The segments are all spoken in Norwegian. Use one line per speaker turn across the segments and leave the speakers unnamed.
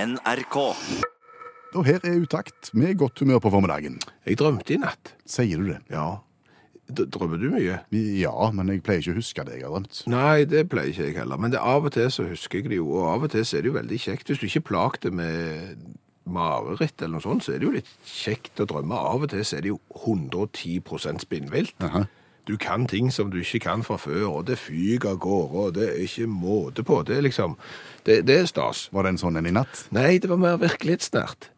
NRK.
Og her er utakt med godt humør på formiddagen.
Jeg drømte i natt.
Sier du det?
Ja. D drømmer du mye?
Ja, men jeg pleier ikke å huske det jeg har drømt.
Nei, det pleier ikke jeg heller. Men det, av og til så husker jeg det jo, og av og til så er det jo veldig kjekt. Hvis du ikke plagte med mareritt eller noe sånt, så er det jo litt kjekt å drømme. Av og til så er det jo 110 spinnvilt.
Aha.
Du kan ting som du ikke kan fra før, og det fyker av gårde, og det er ikke måte på. Det er liksom Det, det er stas.
Var det en sånn en i natt?
Nei, det var mer virkelighetsnært.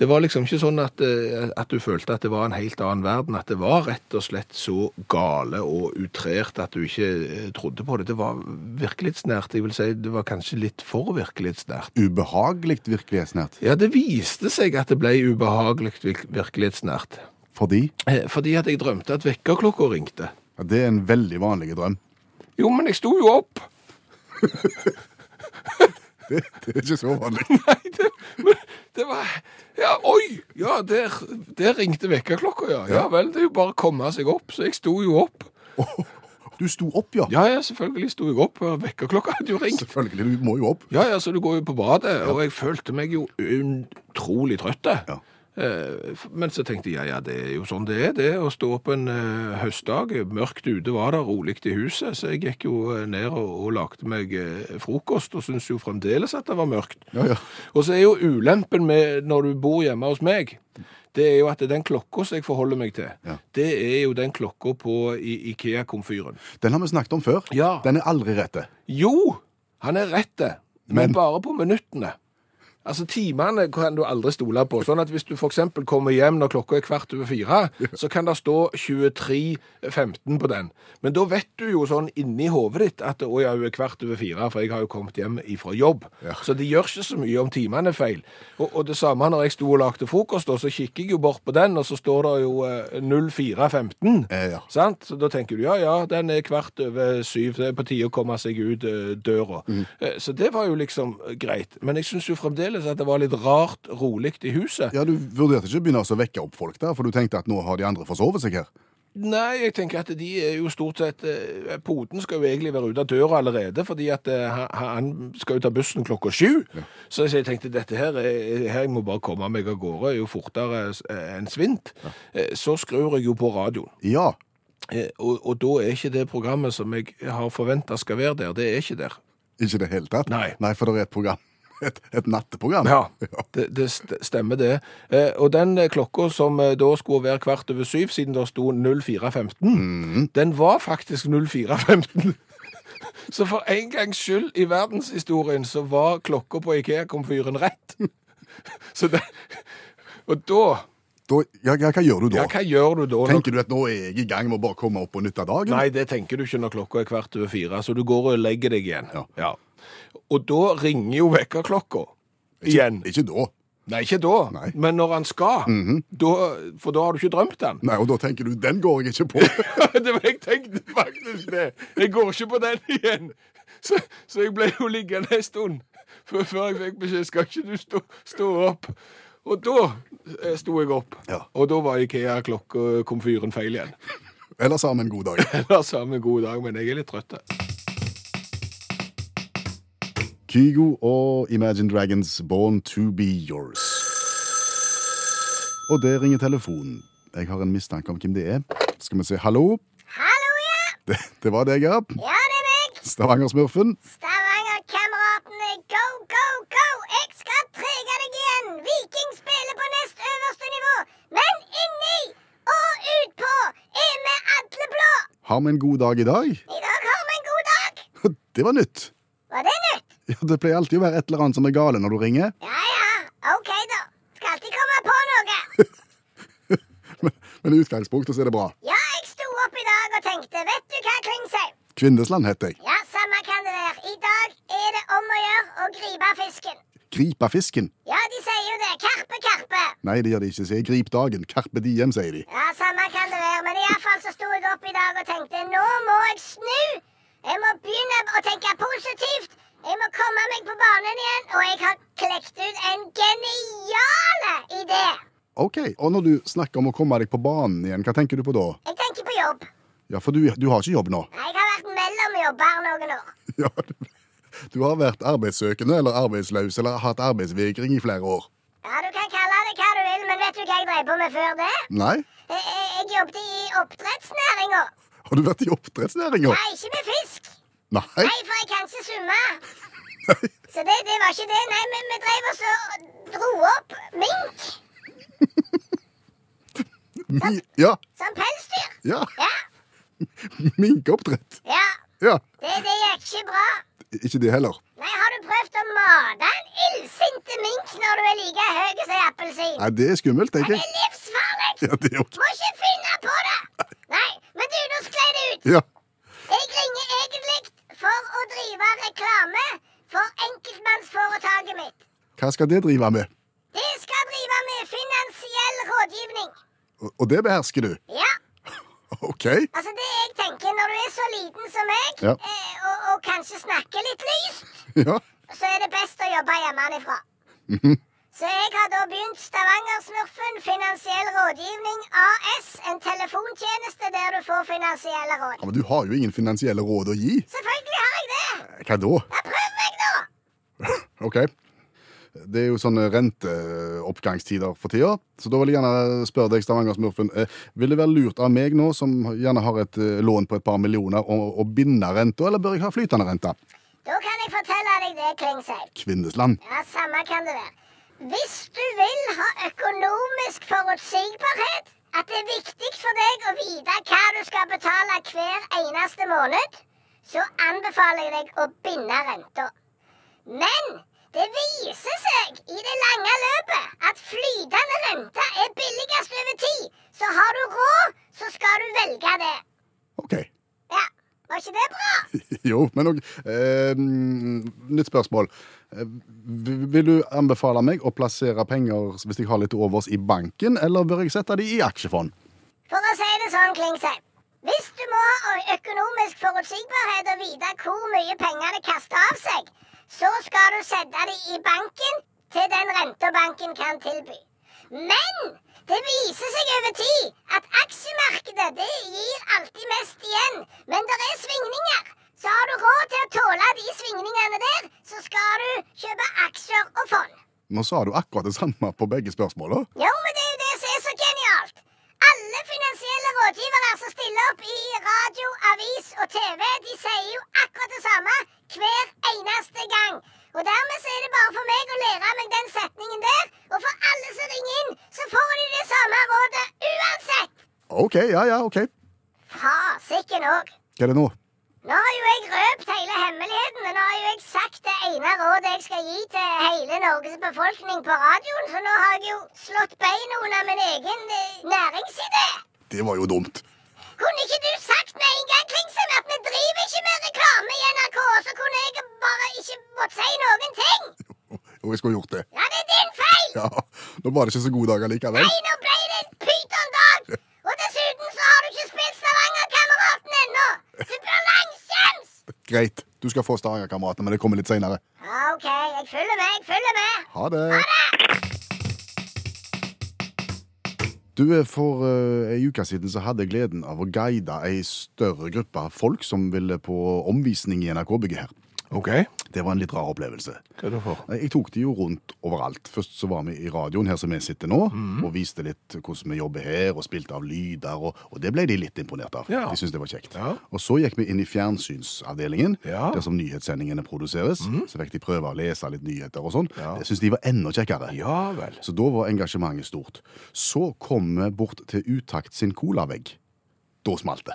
Det var liksom ikke sånn at, eh, at du følte at det var en helt annen verden, at det var rett og slett så gale og utrert at du ikke eh, trodde på det. Det var virkelighetsnært, jeg vil si det var kanskje litt for virkelighetsnært.
Ubehagelig virkelighetsnært.
Ja, det viste seg at det ble ubehagelig virk- virkelighetsnært.
Fordi
Eh, Fordi at jeg drømte at vekkerklokka ringte.
ja, det er en veldig vanlig drøm.
Jo, men jeg sto jo opp.
Det er ikke så vanlig.
Nei, det, men det var Ja, oi! Ja, der, der ringte vekkerklokka, ja. Ja vel, det er jo bare å komme seg opp. Så jeg sto jo opp.
Du sto opp, ja.
Ja, ja, selvfølgelig sto jeg opp. og Vekkerklokka hadde jo ringt.
Selvfølgelig, du må jo opp.
Ja, ja, så du går jo på badet, og jeg følte meg jo utrolig trøtt.
Ja.
Eh, f- Men så tenkte jeg, ja, ja, det er jo sånn det er, det, å stå opp en eh, høstdag. Mørkt ute var det, rolig i huset, så jeg gikk jo eh, ned og, og lagde meg eh, frokost, og syntes jo fremdeles at det var mørkt.
Ja, ja.
Og så er jo ulempen med når du bor hjemme hos meg, det er jo at den klokka som jeg forholder meg til,
Ja.
det er jo den klokka på I- Ikea-komfyren.
Den har vi snakket om før.
Ja.
Den er aldri rette.
Jo, han er rett det, men,
Men?
bare på minuttene. Altså timene kan du aldri stole på, sånn at hvis du for eksempel kommer hjem når klokka er kvart over fire, så kan det stå 23.15 på den. Men da vet du jo sånn inni hovedet ditt at å ja, hun er kvart over fire, for jeg har jo kommet hjem ifra jobb. Så det gjør ikke så mye om timene er feil. Og, og det samme når jeg sto og lagde frokost, da, så kikker jeg jo bort på den, og så står det jo eh, 04.15.
Eh, ja.
Sant? Så Da tenker du ja, ja, den er kvart over syv, det er på tide å komme seg ut eh, døra. Eh, Så det var jo liksom eh, greit. Men jeg syns jo fremdeles at det var litt rart rolig i huset.
Ja, Du vurderte ikke å begynne å vekke opp folk der, for du tenkte at nå har de andre forsovet seg her?
Nei, jeg tenker at de er jo stort sett eh, Poten skal jo egentlig være ute av døra allerede, fordi at eh, ha- han skal jo ta bussen klokka sju. Så jeg tenkte dette her, eh, her jeg må bare komme meg av gårde jo fortere eh, enn svint. Eh, Så skrur jeg jo på radioen.
Ja.
Eh, Og, og da er ikke det programmet som jeg har forventa skal være der, det er ikke der.
Ikke i det hele tatt?
Nei.
for det er et program. Et, et natteprogram?
Ja, det, det st- stemmer det. Eh, og den eh, klokka som eh, da skulle være kvart over syv, siden det sto 04.15, den var faktisk 04.15. Så for en gangs skyld i verdenshistorien så var klokka på Ikea-komfyren rett. Så det, og da
Da, ja, ja, hva gjør du da?
Ja, hva gjør du da? når-
Tenker du at nå er jeg i gang med å bare komme opp og nytte av dagen?
Nei, det tenker du ikke når klokka er kvart over fire, så du går og legger deg igjen.
Ja.
Og da ringer jo vekkerklokka igjen.
Ikke da.
Nei, ikke da,
Nei.
men når han skal. da, for da har du ikke drømt den.
Nei, og da tenker du, den går jeg ikke på.
det var, jeg tenkte faktisk det. Jeg går ikke på den igjen. Så, så jeg ble jo liggende en stund før, før jeg fikk beskjed skal ikke du stå, stå opp. Og da eh, sto jeg opp,
Ja.
og da var Ikea-klokkekomfyren feil igjen.
Eller sa vi en god dag.
Eller samme god dag, men jeg er litt trøtt.
Kygo og Imagine Dragons Born to be yours. Og der ringer telefonen. Jeg har en mistanke om hvem det er. Skal vi se, hallo?
Hallo, ja!
Det, det var deg, ja.
Ja, det er meg!
Stavanger-smurfen.
Stavanger-kameratene, go, go, go! Jeg skal trege deg igjen! Viking spiller på nest øverste nivå, men inni og utpå er vi alle blå!
Har vi en god dag i dag?
I dag har vi en god dag!
Det var nytt.
Var det nytt?
Ja, det pleier alltid å være et eller annet som er gale når du ringer.
Ja, ja, ok da. Skal alltid komme på noe.
Men, men i utgangspunktet så er det bra.
Ja, jeg sto opp i dag og tenkte, vet du hva, Klingsheim?
Kvindesland heter jeg.
Ja, samme kan det være. I dag er det om å gjøre å gripe fisken.
Gripa fisken.
Ja, de sier jo det. Karpe, karpe.
Nei, det gjør de ikke. Sier grip dagen. Carpe diem, sier de.
Ja, samme kan det være, men iallfall så sto jeg opp i dag og tenkte nå må jeg snu. Jeg må begynne å tenke positivt. Jeg må komme meg på banen igjen, og jeg har klekt ut en genial idé.
Ok, og når du snakker om å komme deg på banen igjen, hva tenker du på da?
Jeg tenker på jobb.
Ja, for du, du har ikke jobb nå.
Jeg har vært mellom jobber noen år.
Ja, du, Du har vært arbeidssøkende eller arbeidsløs eller hatt arbeidsvegring i flere år.
Ja, du kan kalle det hva du vil, men vet du hva jeg drev på med før det?
Nei?
Jeg, jeg, jeg jobbet i oppdrettsnæringa.
Har du vært i oppdrettsnæringa?
Nei, ikke med fisk.
Nei.
Nei, for jeg kan ikke svømme. Så det, det var ikke det. Nei, men vi drev oss og dro opp mink
Mi, ja,
som pelsdyr.
ja.
Ja.
Minkoppdrett.
ja.
Ja.
Det, det gikk ikke bra.
Ikke det heller.
Nei, har du prøvd å mate en illsinte mink når du er like høy som en appelsin?
Nei, det er skummelt,
Det
tenker jeg.
er livsfarlig!
Ja, det er ok.
Må ikke finne på det! Nei, men du, nå sklei det ut.
Ja.
Jeg ringer egentlig for å drive reklame for enkeltmannsforetaket mitt.
Hva skal det drive med?
Det skal drive med finansiell rådgivning.
Og- Og det behersker du?
Ja,
OK.
altså det jeg tenker når du er så liten som meg,
Ja.
eh, og, og kanskje snakker litt lyst,
Ja.
så er det best å jobbe hjemmefra. Så jeg har da begynt Stavangersmurfen finansiell rådgivning AS, en telefontjeneste der du får finansielle
ja.
råd.
Men du har jo ingen finansielle råd å gi.
Selvfølgelig har jeg det!
Hva da?
Ja, prøv meg nå!
OK. Det er jo sånne renteoppgangstider for tida, så da vil jeg gjerne spørre deg, Stavanger-smurfen, eh, vil det være lurt av meg nå, som gjerne har et eh, lån på et par millioner, å, å binde renta, eller bør jeg ha flytende rente?
Da kan jeg fortelle deg det, Klingseid.
Kvinnesland.
Ja, samme kan det være. Hvis du vil ha økonomisk forutsigbarhet, at det er viktig for deg å vite hva du skal betale hver eneste måned, så anbefaler jeg deg å binde renta. Men det viser seg i det lange løpet at flytende rente er billigst over tid. Så har du råd, så skal du velge det.
OK.
Ja, var ikke det bra?
Jo, men òg eh, Nytt spørsmål. Eh, v- Vil du anbefale meg å plassere penger hvis jeg har litt til overs i banken, eller bør jeg sette de i aksjefond?
For å si det sånn, Klingsheim. Hvis du må ha ø- økonomisk forutsigbarhet og vite hvor mye penger det kaster av seg, så skal du sette det i banken til den renta banken kan tilby. Men det viser seg over tid at aksjemarkedet det gir alltid mest igjen. Men det er svingninger. Så har du råd til å tåle de svingningene der, så skal du kjøpe aksjer og fond.
Nå sa du akkurat det samme på begge spørsmåla.
Jo, men det er jo det som er så genialt! Alle finansielle rådgivere som stiller opp i radio, avis og TV, de sier jo akkurat det samme hver eneste gang. Og dermed så er det bare for meg å lære meg den setningen der. Og for alle som ringer inn, så får de det samme rådet uansett!
OK, ja, ja, OK.
Fasiken òg.
Hva er det nå?
Nå har jo jeg røpt hele hemmeligheten, og nå har jo jeg sagt det ene rådet jeg skal gi til hele Norges befolkning på radioen, så nå har jeg jo slått beina under min egen eh, næringsidé.
Det var jo dumt.
Kunne ikke du sagt med en gang, Klingsheim, at vi driver ikke med reklame i NRK, så kunne jeg bare ikke måtte si noen ting?
Og jeg skulle gjort det.
Ja, det er din feil!
Ja, Nå var det ikke så god dag allikevel.
Nei, nå ble det en pytondag! Og dessuten så har du ikke spilt Stavangerkameraten ennå! Du blir langskjems!
Greit, du skal få Stavanger-kameratene, men det kommer litt seinere.
Ja, OK, jeg følger med, jeg følger med.
Ha det! Du, eh, For eh, ei uke siden så hadde jeg gleden av å guide ei større gruppe av folk som ville på omvisning i NRK-bygget her.
OK.
Det var en litt rar opplevelse.
Hva er det for?
Nei, Jeg tok de jo rundt overalt. Først så var vi i radioen her som vi sitter nå,
Mhm.
og viste litt hvordan vi jobber her, og spilte av lyder, og, og det ble de litt imponert av.
Ja.
De syntes det var kjekt.
Ja.
Og så gikk vi inn i fjernsynsavdelingen,
Ja. Mhm.
der som nyhetssendingene produseres. Så fikk de prøve å lese litt nyheter og sånn.
Ja.
Det syntes de var enda kjekkere.
Ja vel.
Så da var engasjementet stort. Så kom vi bort til Utakt sin colavegg. Da smalt det.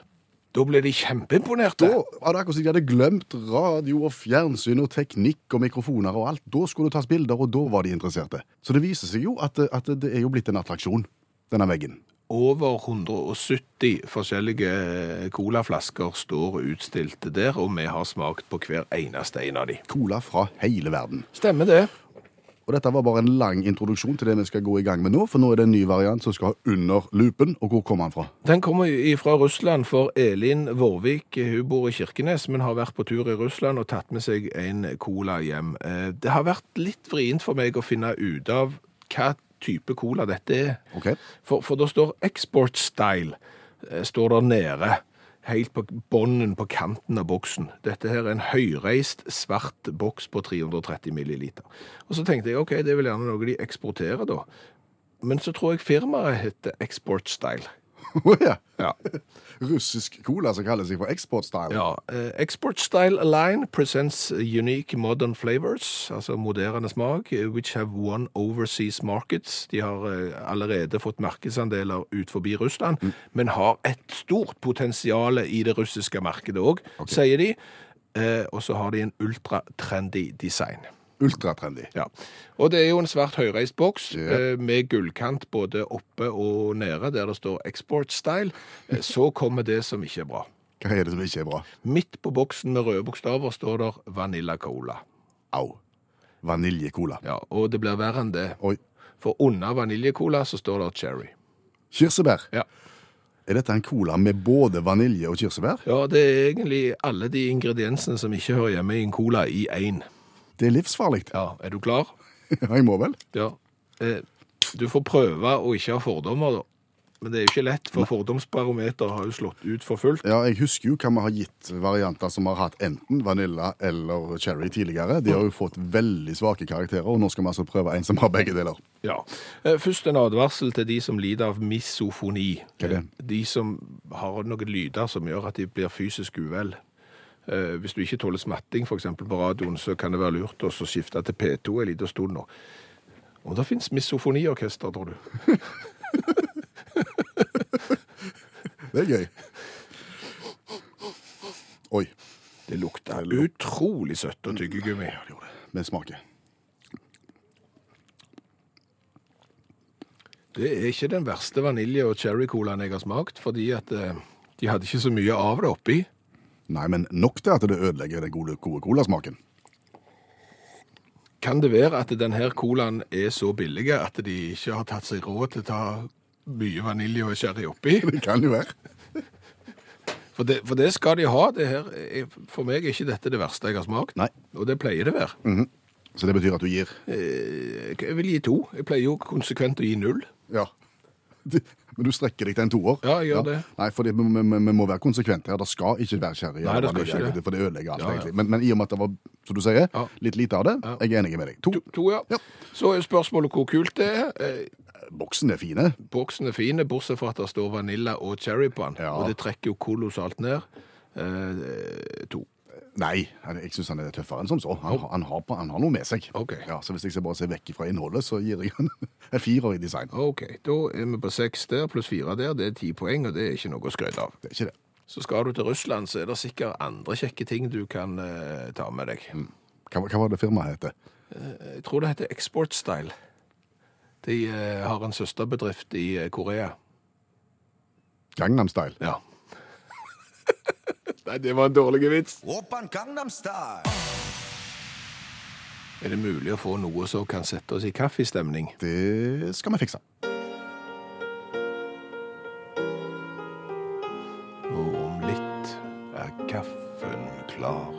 Da ble de kjempeimponerte.
Da var det akkurat som de hadde glemt radio og fjernsyn og teknikk og mikrofoner og alt. Da skulle det tas bilder, og da var de interesserte. Så det viser seg jo at, at det er jo blitt en attraksjon, denne veggen.
Over 170 forskjellige eh, colaflasker står utstilt der, og vi har smakt på hver eneste en av de.
Cola fra hele verden.
Stemmer det.
Og dette var bare en lang introduksjon til det vi skal gå i gang med nå, for nå er det en ny variant som skal under lupen. Og hvor kommer han fra?
Den kommer fra Russland, for Elin Vårvik hun bor i Kirkenes, men har vært på tur i Russland og tatt med seg en cola hjem. Eh, Det har vært litt vrient for meg å finne ut av hva type cola dette er.
Ok.
For, for da står export style, eh, står der nede. helt på bånden, på kanten av boksen. Dette her er en høyreist, svart boks på 330 milliliter. Og så tenkte jeg OK, det er vel gjerne noe de eksporterer, da. Men så tror jeg firmaet heter Export Style.
Å ja.
Ja.
Russisk cola som kaller seg for export style.
Ja, eh, Export Style Line presents unique modern flavors, altså moderne smak, eh, which have won overseas markets. De har eh, allerede fått markedsandeler ut forbi Russland, men har et stort potensial i det russiske markedet òg, sier de. Eh, Og så har de en ultratrendy design.
Ultratrendy.
Ja. Og det er jo en svært høyreist boks
Ja.
eh, med gullkant både oppe og nede, der det står Export Style. Eh, Så kommer det som ikke er bra.
Hva er det som ikke er bra?
Midt på boksen med røde bokstaver står der Vanilla Cola.
Au. Vaniljekola.
Ja, og det blir verre enn det.
Oi.
For under vaniljekola så står der cherry.
Kirsebær.
Ja.
Er dette en cola med både vanilje og kirsebær?
ja, det er egentlig alle de ingrediensene som ikke hører hjemme i en cola i én.
Det er livsfarlig.
Ja, er du klar?
Jeg må vel?
Ja. Eh, du får prøve å ikke ha fordommer, da. Men det er jo ikke lett, for fordomsbarometer har jo slått ut for fullt.
Ja, jeg husker jo hva vi har gitt varianter som har hatt enten vanilla eller cherry tidligere. De har jo fått veldig svake karakterer, og nå skal vi altså prøve en som har begge deler.
Ja. Eh, Først en advarsel til de som lider av misofoni. Eh,
Hva er det?
De som har noen lyder som gjør at de blir fysisk uvel. Eh, Hvis du ikke tåler smatting for eksempel på radioen, så kan det være lurt å så skifte til P2 en liten stund nå. Om det finnes misofoniorkester, tror du?
Det er gøy. Oi,
Det lukta utrolig søtt og tyggegummi.
Mm. vi smaker.
Det er ikke den verste vanilje- og cherrycolaen jeg har smakt, fordi at eh, de hadde ikke så mye av det oppi.
Nei, men nok til at det ødelegger den gode, gode colasmaken.
Kan det være at denne colaen er så billig at de ikke har tatt seg råd til å ta mye vanilje og sherry oppi?
Det kan jo være.
For det, for det skal de ha. Det her er, for meg er ikke dette det verste jeg har smakt.
Nei. Mm.
Og det pleier det å være.
Så det betyr at du gir
Eh, Jeg vil gi to. Jeg pleier jo konsekvent å gi null.
Ja. Det- Men du strekker deg til en toer?
Ja, jeg gjør det.
Nei, for vi vi må være konsekvente her. Det skal ikke være sherry.
Nei, det skal
eller vanilje,
ikke det.
For det ødelegger alt,
Ja, ja.
egentlig. Men, men i og med at det var, som du sier,
Ja.
litt lite av det,
Ja.
jeg er enig med deg. To.
To, to ja.
Ja.
Så er spørsmålet hvor kult det er. Eh,
Boksen er fine.
Boksen er fin, bortsett fra at det står vanilla og cherry på den.
Ja.
Og det trekker jo kolossalt ned. Eh, to.
Nei, han- jeg syns han er tøffere enn som så. Han, han, har, på- han har noe med seg.
Ok.
Ja, så hvis jeg skal bare se vekk fra innholdet, så gir jeg han en firer i design.
Ok, da er vi på seks der, pluss fire der. Det er ti poeng, og det er ikke noe å skryte av.
Det er ikke det.
Så skal du til Russland, så er det sikkert andre kjekke ting du kan eh, ta med deg.
Hva, hva var det firmaet heter?
Jeg tror det heter Export Style. De eh, har en søsterbedrift i eh, Korea.
Gangnam Style.
Ja. Nei, det var en dårlig vits.
Oppan Gangnam Style.
Er det mulig å få noe som kan sette oss i kaffestemning?
Det skal vi fikse.
Og om litt er kaffen klar.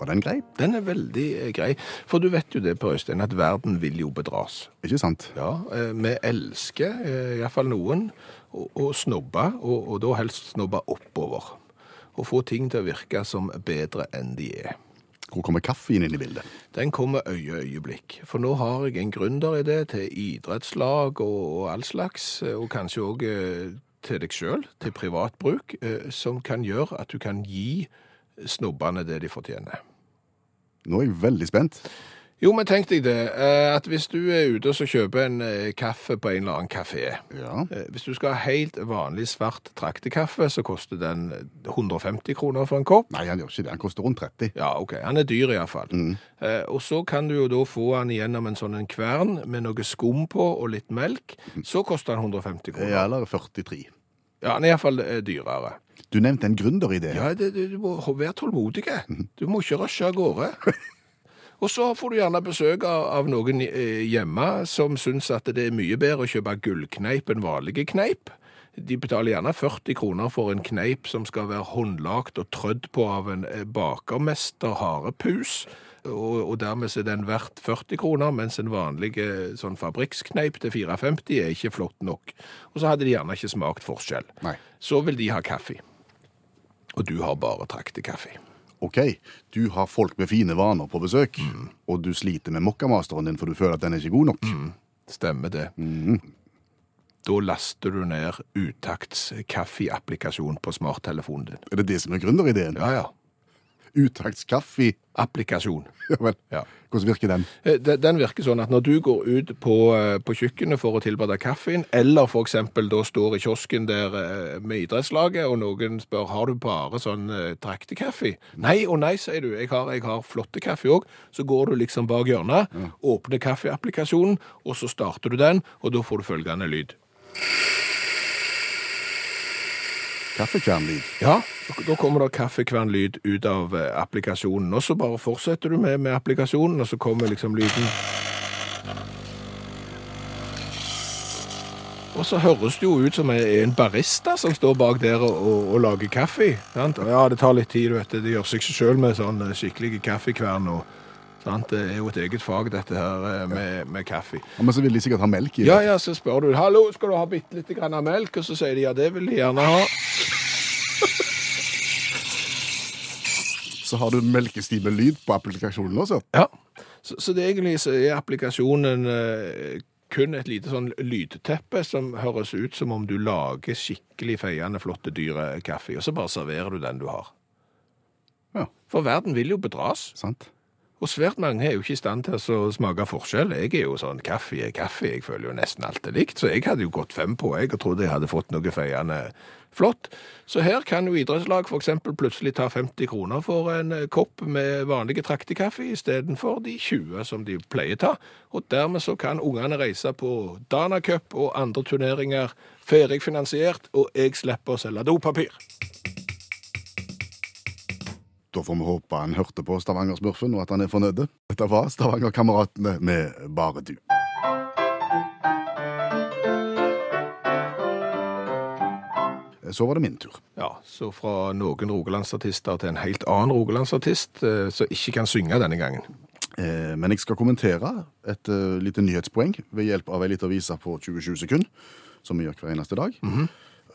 Var den grei?
Den er veldig eh, grei, for du vet jo det, Per Øystein, at verden vil jo bedras.
Ikke sant?
Ja, eh, vi elsker eh, iallfall noen å, å snobbe, og, og da helst snobbe oppover. Og få ting til å virke som bedre enn de er.
Hvor kommer kaffen inn i bildet?
Den kommer øye øyeblikk. For nå har jeg en gründeridé til idrettslag og, og all slags, eh, og kanskje òg til deg sjøl, til privat bruk, eh, som kan gjøre at du kan gi snobbene det de fortjener.
Nå er jeg veldig spent.
Jo, men tenk deg det, eh, at hvis du er ute og så kjøper en eh, kaffe på en eller annen kafé,
Ja.
Eh, Hvis du skal ha helt vanlig svart traktekaffe, så koster den eh, 150 kroner for en kopp.
Nei, han gjør ikke det. Han koster rundt 30.
Ja, ok. Han er dyr iallfall. Eh, og så kan du jo da få han gjennom en sånn en kvern med noe skum på og litt melk. Så koster han 150 kroner.
Ja, Eller 43.
Ja, han er iallfall eh, dyrere.
Du nevnte en gründeridé.
Ja, det, det, du må ho- være tålmodig. Du må ikke rushe av gårde. Og så får du gjerne besøk av, av noen eh, hjemme som syns at det er mye bedre å kjøpe gullkneip enn vanlige kneip. De betaler gjerne 40 kroner for en kneip som skal være håndlagt og trødd på av en eh, bakermester harepus, og, og dermed så er den verdt 40 kroner, mens en vanlig eh, sånn fabrikkneip til 4,50 er ikke flott nok. Og så hadde de gjerne ikke smakt forskjell.
Nei.
Så vil de ha kaffe. Og du har bare traktekaffe.
OK, du har folk med fine vaner på besøk,
Mm.
og du sliter med mokkamasteren din for du føler at den er ikke god nok.
Mm. Stemmer det. Da laster du ned Utakts kaffeapplikasjon på smarttelefonen din.
Er det det som er gründerideen?
Ja, ja.
Utaktskaffe.
Applikasjon.
Ja vel.
Ja.
Hvordan virker den?
Eh, de- Den virker sånn at når du går ut på, eh, på kjøkkenet for å tilberede kaffen, eller for eksempel da står i kiosken der eh, med idrettslaget, og noen spør har du bare sånn eh, traktekaffe? Nei og nei, sier du. Jeg har, jeg har flotte kaffe òg. Så går du liksom bak hjørnet, åpner kaffeapplikasjonen, og så starter du den, og da får du følgende lyd.
Kaffekvernlyd.
Ja, da kommer det kaffekvernlyd ut av eh, applikasjonen, og så bare fortsetter du med, med applikasjonen, og så kommer liksom lyden. Og så høres det jo ut som en- en barista som står bak der og, og, og lager kaffe. Sant? Og ja, det tar litt tid, du vet, det gjør seg selv med sånn eh, skikkelig kaffekvern og sant? Det er jo et eget fag dette her eh, med, med kaffe.
Ja, men så vil de sikkert ha melk i.
Ja, ja, så spør du, hallo, skal du ha bitte litt grann av melk? Og så sier de, ja, det vil de gjerne ha.
Så har du melkestimelyd på applikasjonen også.
Ja, så, så det egentlig så er applikasjonen eh, kun et lite sånn lydteppe som høres ut som om du lager skikkelig feiende flotte dyre kaffe, og så bare serverer du den du har.
Ja,
For verden vil jo bedras,
sant.
og svært mange er jo ikke i stand til å smake forskjell. Jeg er jo sånn, kaffe er kaffe, jeg føler jo nesten alt er likt, så jeg hadde jo gått fem på, jeg, og trodde jeg hadde fått noe feiende flott. Så her kan jo idrettslag for eksempel plutselig ta 50 kroner for en eh, kopp med vanlige traktekaffe i stedet for de 20 som de pleier ta, og dermed så kan ungene reise på Dana Cup og andre turneringer ferdig finansiert, og jeg slipper å selge dopapir.
Da får vi håpe han hørte på Stavanger-smurfen, og at han er fornøyd. Dette var Stavanger-kameratene med Bare du. Så var det min tur.
Ja, så fra noen rogalandsartister til en helt annen rogalandsartist eh, som ikke kan synge denne gangen.
Eh, Men jeg skal kommentere et eh, lite nyhetspoeng ved hjelp av ei lita vise på 20-20 sekunder, som vi gjør hver eneste dag.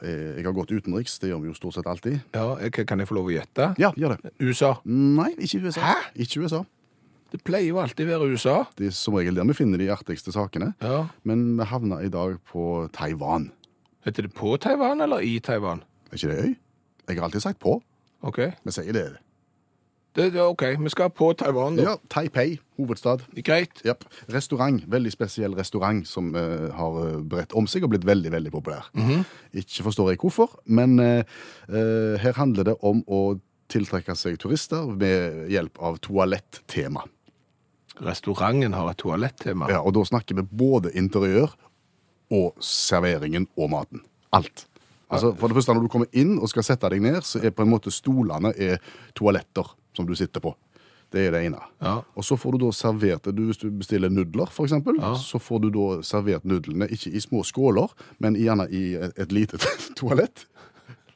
Eh, Jeg har gått utenriks, det gjør vi jo stort sett alltid.
Ja, jeg, Eh, Kan jeg få lov å gjette?
Ja, gjør det.
USA.
Nei, ikke USA.
Hæ?
Ikke USA.
Det pleier jo alltid å være USA.
Det er som regel der vi finner de artigste sakene.
Ja.
Men vi havna i dag på Taiwan.
Heter det på Taiwan eller i Taiwan?
Er ikke det øy? Jeg har alltid sagt på.
OK,
Vi sier det.
det, det, ok, vi skal på Taiwan nå.
Ja, Taipei, hovedstad.
Greit.
Japp. Restaurant. Veldig spesiell restaurant som eh, har eh, bredt om seg og blitt veldig veldig populær. Ikke forstår jeg hvorfor, men eh, eh, her handler det om å tiltrekke seg turister ved hjelp av toalettema.
Restauranten har et toalettema.
Ja, og da snakker vi både interiør og serveringen og maten. Alt. Altså, for det første, Når du kommer inn og skal sette deg ned, så er på en måte stolene er toaletter som du sitter på. Det er det ene.
Ja.
Og så får du da servert du, Hvis du bestiller nudler, for eksempel, så får du da servert nudlene ikke i små skåler, men gjerne i et, et lite toalett.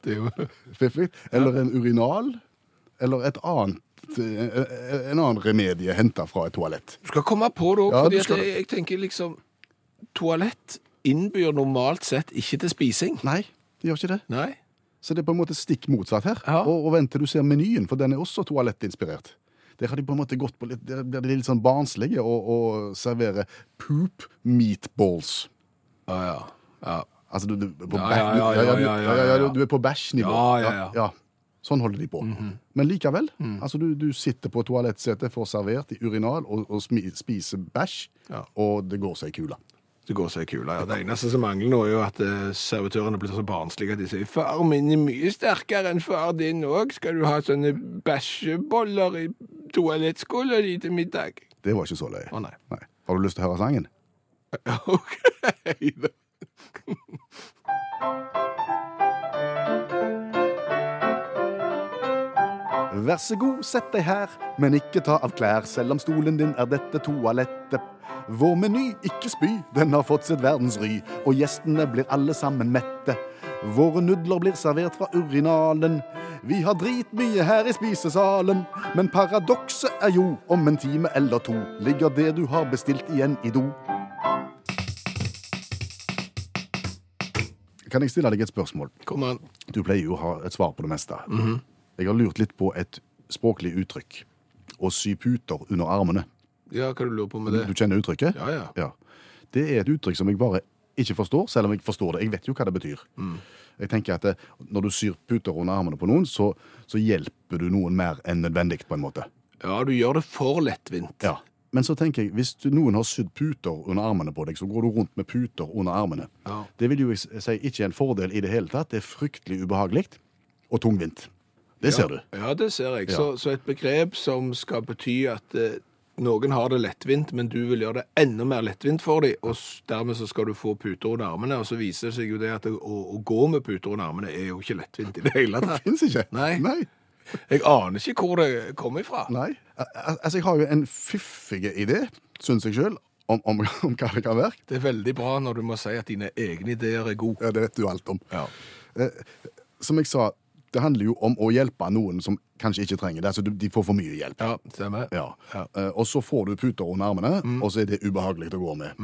Det er jo...
Fiffig. Eller en urinal. Eller et annet, eh, en annen remedie henta fra et toalett.
Du skal komme på det òg,
Ja,
fordi
du
at
skal
jeg, jeg tenker liksom Toalett innbyr normalt sett ikke til spising.
Nei, det gjør ikke det.
Nei?
Så det er på en måte stikk motsatt her.
Ja.
Og, og vent til du ser menyen, for den er også toalettinspirert. Der har de på en måte gått på litt, der blir de litt sånn barnslige og, og serverer poop meatballs.
Å ja. ja.
Altså, du, du, er på
Ja,
bæ-
ja,
du-
ja, ja, ja, ja,
ja, ja,
ja.
du- Du er på bæsjnivå.
Ja, ja, Mhm. ja.
Sånn holder de på. Men likevel. altså du, du sitter på toalettsetet, får servert i urinal og, og smi- spiser bæsj,
Ja.
og det går seg i kula.
Det går seg kula. Ja. Det eneste som mangler nå, er jo at eh, servitørene blir så barnslige at de sier 'Far min er mye sterkere enn far din òg. Skal du ha sånne bæsjeboller i toalettskåla di til middag?'
Det var ikke så løye.
Å nei.
Har du lyst til å høre sangen?
OK.
Vær så god, sett deg her, men ikke ta av klær, selv om stolen din er dette toalettet. Vår meny, ikke spy, den har fått sitt verdensry, og gjestene blir alle sammen mette. Våre nudler blir servert fra urinalen. Vi har dritmye her i spisesalen, men paradokset er jo, om en time eller to, ligger det du har bestilt igjen i do. Kan jeg stille deg et spørsmål?
Kom an. Mhm.
Du pleier jo å ha et svar på det meste. Jeg har lurt litt på et språklig uttrykk. Å sy puter under armene.
Ja, hva du lurer på med
Du,
det?
du kjenner uttrykket?
Ja, ja.
Ja. Det er et uttrykk som jeg bare ikke forstår, selv om jeg forstår det. Jeg vet jo hva det betyr.
Mm.
Jeg tenker at det, Når du syr puter under armene på noen, så, så hjelper du noen mer enn nødvendig. på en måte.
Ja, du gjør det for lettvint.
Ja. Men så tenker jeg, hvis du, noen har sydd puter under armene på deg, så går du rundt med puter under armene.
Ja.
Det vil jo jeg s- si ikke er en fordel i det hele tatt. Det er fryktelig ubehagelig og tungvint. Det ser du.
Ja, det ser jeg.
Ja.
Så, så et begrep som skal bety at eh, noen har det lettvint, men du vil gjøre det enda mer lettvint for dem, og s- dermed så skal du få puter under armene, og så viser det seg jo det at å, å gå med puter under armene er jo ikke lettvint i det hele tatt.
Fins ikke.
Nei.
Nei.
Jeg aner ikke hvor det kom ifra.
Nei. Al- al- Altså, jeg har jo en fiffig idé, syns jeg sjøl, om, om, om hva det kan være.
Det er veldig bra når du må si at dine egne ideer er gode.
Ja, det vet du alt om.
Ja.
Som jeg sa, det handler jo om å hjelpe noen som kanskje ikke trenger det. Altså, du- de får for mye hjelp.
Ja, stemmer.
Ja.
Ja. Mm.
Eh, Og så får du puter under armene, og så er det ubehagelig å gå med.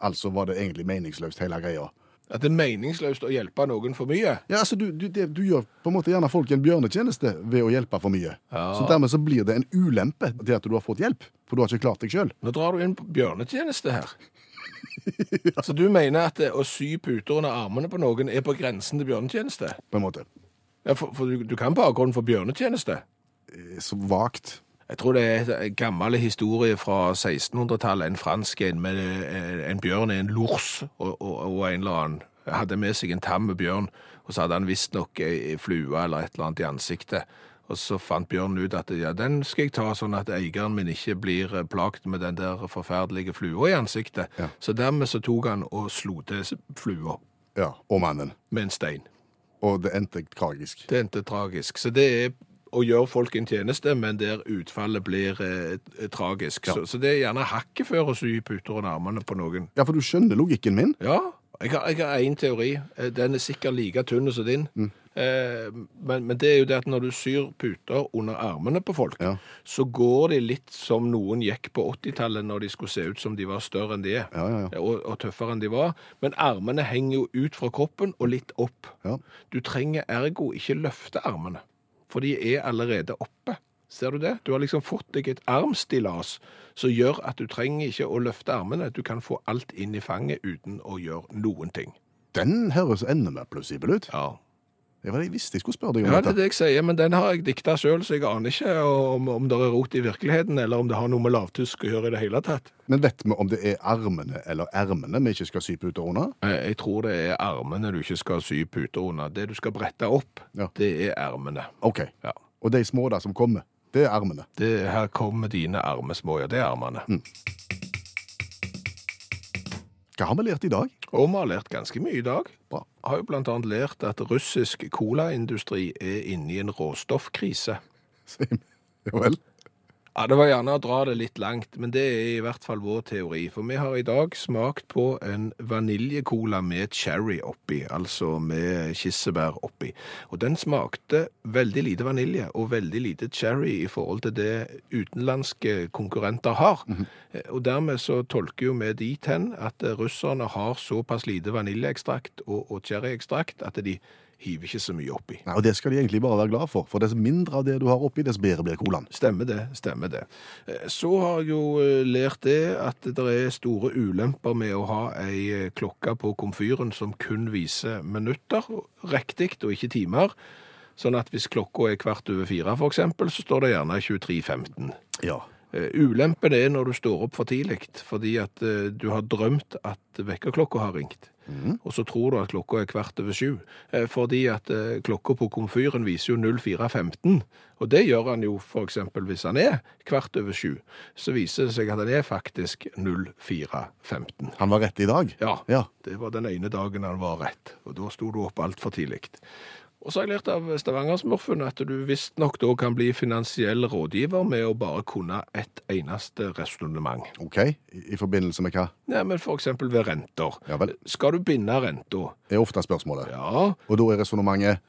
Altså var det egentlig meningsløst, hele greia.
At det er meningsløst å hjelpe noen for mye.
Ja, altså, du, du, det, du gjør på en måte gjerne folk en bjørnetjeneste ved å hjelpe for mye.
Ja.
Så dermed så blir det en ulempe til at du har fått hjelp, for du har ikke klart deg sjøl.
Nå drar du inn på bjørnetjeneste her. Så du mener at det, å sy puter under armene på noen er på grensen til bjørnetjeneste?
På en måte.
Ja, for, for du, du kan bakgrunnen for bjørnetjeneste.
Eh, Så vagt.
Jeg tror det er en gammel historie fra 1600-tallet. En fransk en med eh, en bjørn i en lors, og, og, og en eller annen hadde med seg en tam bjørn, og så hadde han visstnok ei ei flue eller et eller annet i ansiktet. Og så fant bjørnen ut at ja, den skal jeg ta sånn at eieren min ikke blir eh, plagt med den der forferdelige flua i ansiktet.
Ja.
Så dermed så tok han og slo til s- flua
Ja. Og mannen.
med en stein.
Og det endte tragisk.
Det endte tragisk. Så det er å gjøre folk en tjeneste, men der utfallet blir eh, tragisk.
Ja.
Så, så det er gjerne hakket før å sy puter under armene på noen.
Ja, for du skjønner logikken min.
Ja, jeg har, jeg har en teori. Eh, Den er sikkert like tynn som din.
Mm.
Eh, men, men det er jo det at når du syr puter under armene på folk,
Ja.
så går de litt som noen gikk på 80-tallet når de skulle se ut som de var større enn de er,
Ja, ja, ja.
Og, og tøffere enn de var. Men armene henger jo ut fra kroppen og litt opp.
Ja.
Du trenger ergo ikke løfte armene, for de er allerede oppe. Ser du det? Du har liksom fått deg et armstillas som gjør at du trenger ikke å løfte armene. Du kan få alt inn i fanget uten å gjøre noen ting.
Den høres enda mer plausibel ut.
Ja,
Det var det jeg visste jeg skulle spørre deg om.
ja det
dette.
er det jeg sier, men den har jeg dikta sjøl, så jeg aner ikke om, om det er rot i virkeligheten, eller om det har noe med lavtysk å gjøre i det hele tatt.
Men vet vi om det er armene eller ermene vi ikke skal sy puter under?
Eh, Jeg tror det er armene du ikke skal sy puter under. Det du skal brette opp,
Ja.
det er ermene.
Ok.
Ja.
Og de små der som kommer, det er ermene.
Det, her kommer dine armesmåer. Det er armene.
Hva har vi lært i dag?
Og vi har lært ganske mye i dag.
Bra.
Har jo blant annet lært at russisk colaindustri er inne i en råstoffkrise.
Sier vi. Ja vel.
Ja, Det var gjerne å dra det litt langt, men det er i hvert fall vår teori. For vi har i dag smakt på en vaniljecola med cherry oppi, altså med kirsebær oppi. Og den smakte veldig lite vanilje og veldig lite cherry i forhold til det utenlandske konkurrenter har. Eh, Og dermed så tolker jo vi dit hen at eh, russerne har såpass lite vaniljeekstrakt og, og cherryekstrakt at de hiver ikke så mye oppi.
Nei, og det skal de egentlig bare være glad for, for dess mindre av det du har oppi, dess bedre blir colaen.
Stemmer det, stemmer det. Eh, Så har jeg jo eh, lært det at det er store ulemper med å ha ei eh, klokke på komfyren som kun viser minutter, riktig og ikke timer. Sånn at hvis klokka er kvart over fire, for eksempel, så står det gjerne 23.15.
Ja.
Eh, Ulempen er når du står opp for tidlig, fordi at eh, du har drømt at vekkerklokka har ringt. Og så tror du at klokka er kvart over sju, eh, fordi at eh, klokka på komfyren viser jo 04.15. Og det gjør han jo for eksempel hvis han er kvart over sju, så viser det seg at han er faktisk 04.15.
Han var rett i dag.
Ja.
Ja.
Det var den ene dagen han var rett, og da sto du opp altfor tidlig. Og så har jeg lært av Stavangersmurfen at du visstnok da kan bli finansiell rådgiver med å bare kunne ett eneste resonnement.
Ok. I, i forbindelse med hva?
Nei, men for eksempel ved renter.
Ja vel.
Skal du binde renta?
Det er ofte spørsmålet.
Ja.
Og da er resonnementet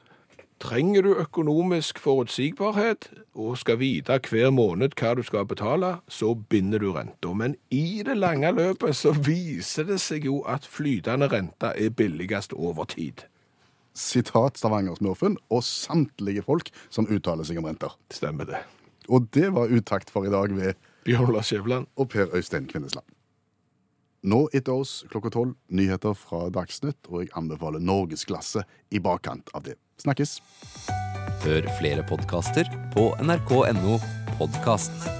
Trenger du økonomisk forutsigbarhet og skal vite hver måned hva du skal betale, så binder du renta. Men i det lange løpet så viser det seg jo at flytende rente er billigst over tid.
sitat Stavanger-smurfen og samtlige folk som uttaler seg om renter.
Stemmer det.
Og det var utakt for i dag ved
Bjørn Lars Skjæveland.
og Per Øystein Kvindesland. Nå etter oss klokka tolv nyheter fra Dagsnytt, og jeg anbefaler norgesklasse i bakkant av det. Snakkes!
Hør flere podkaster på nrk.no podkast.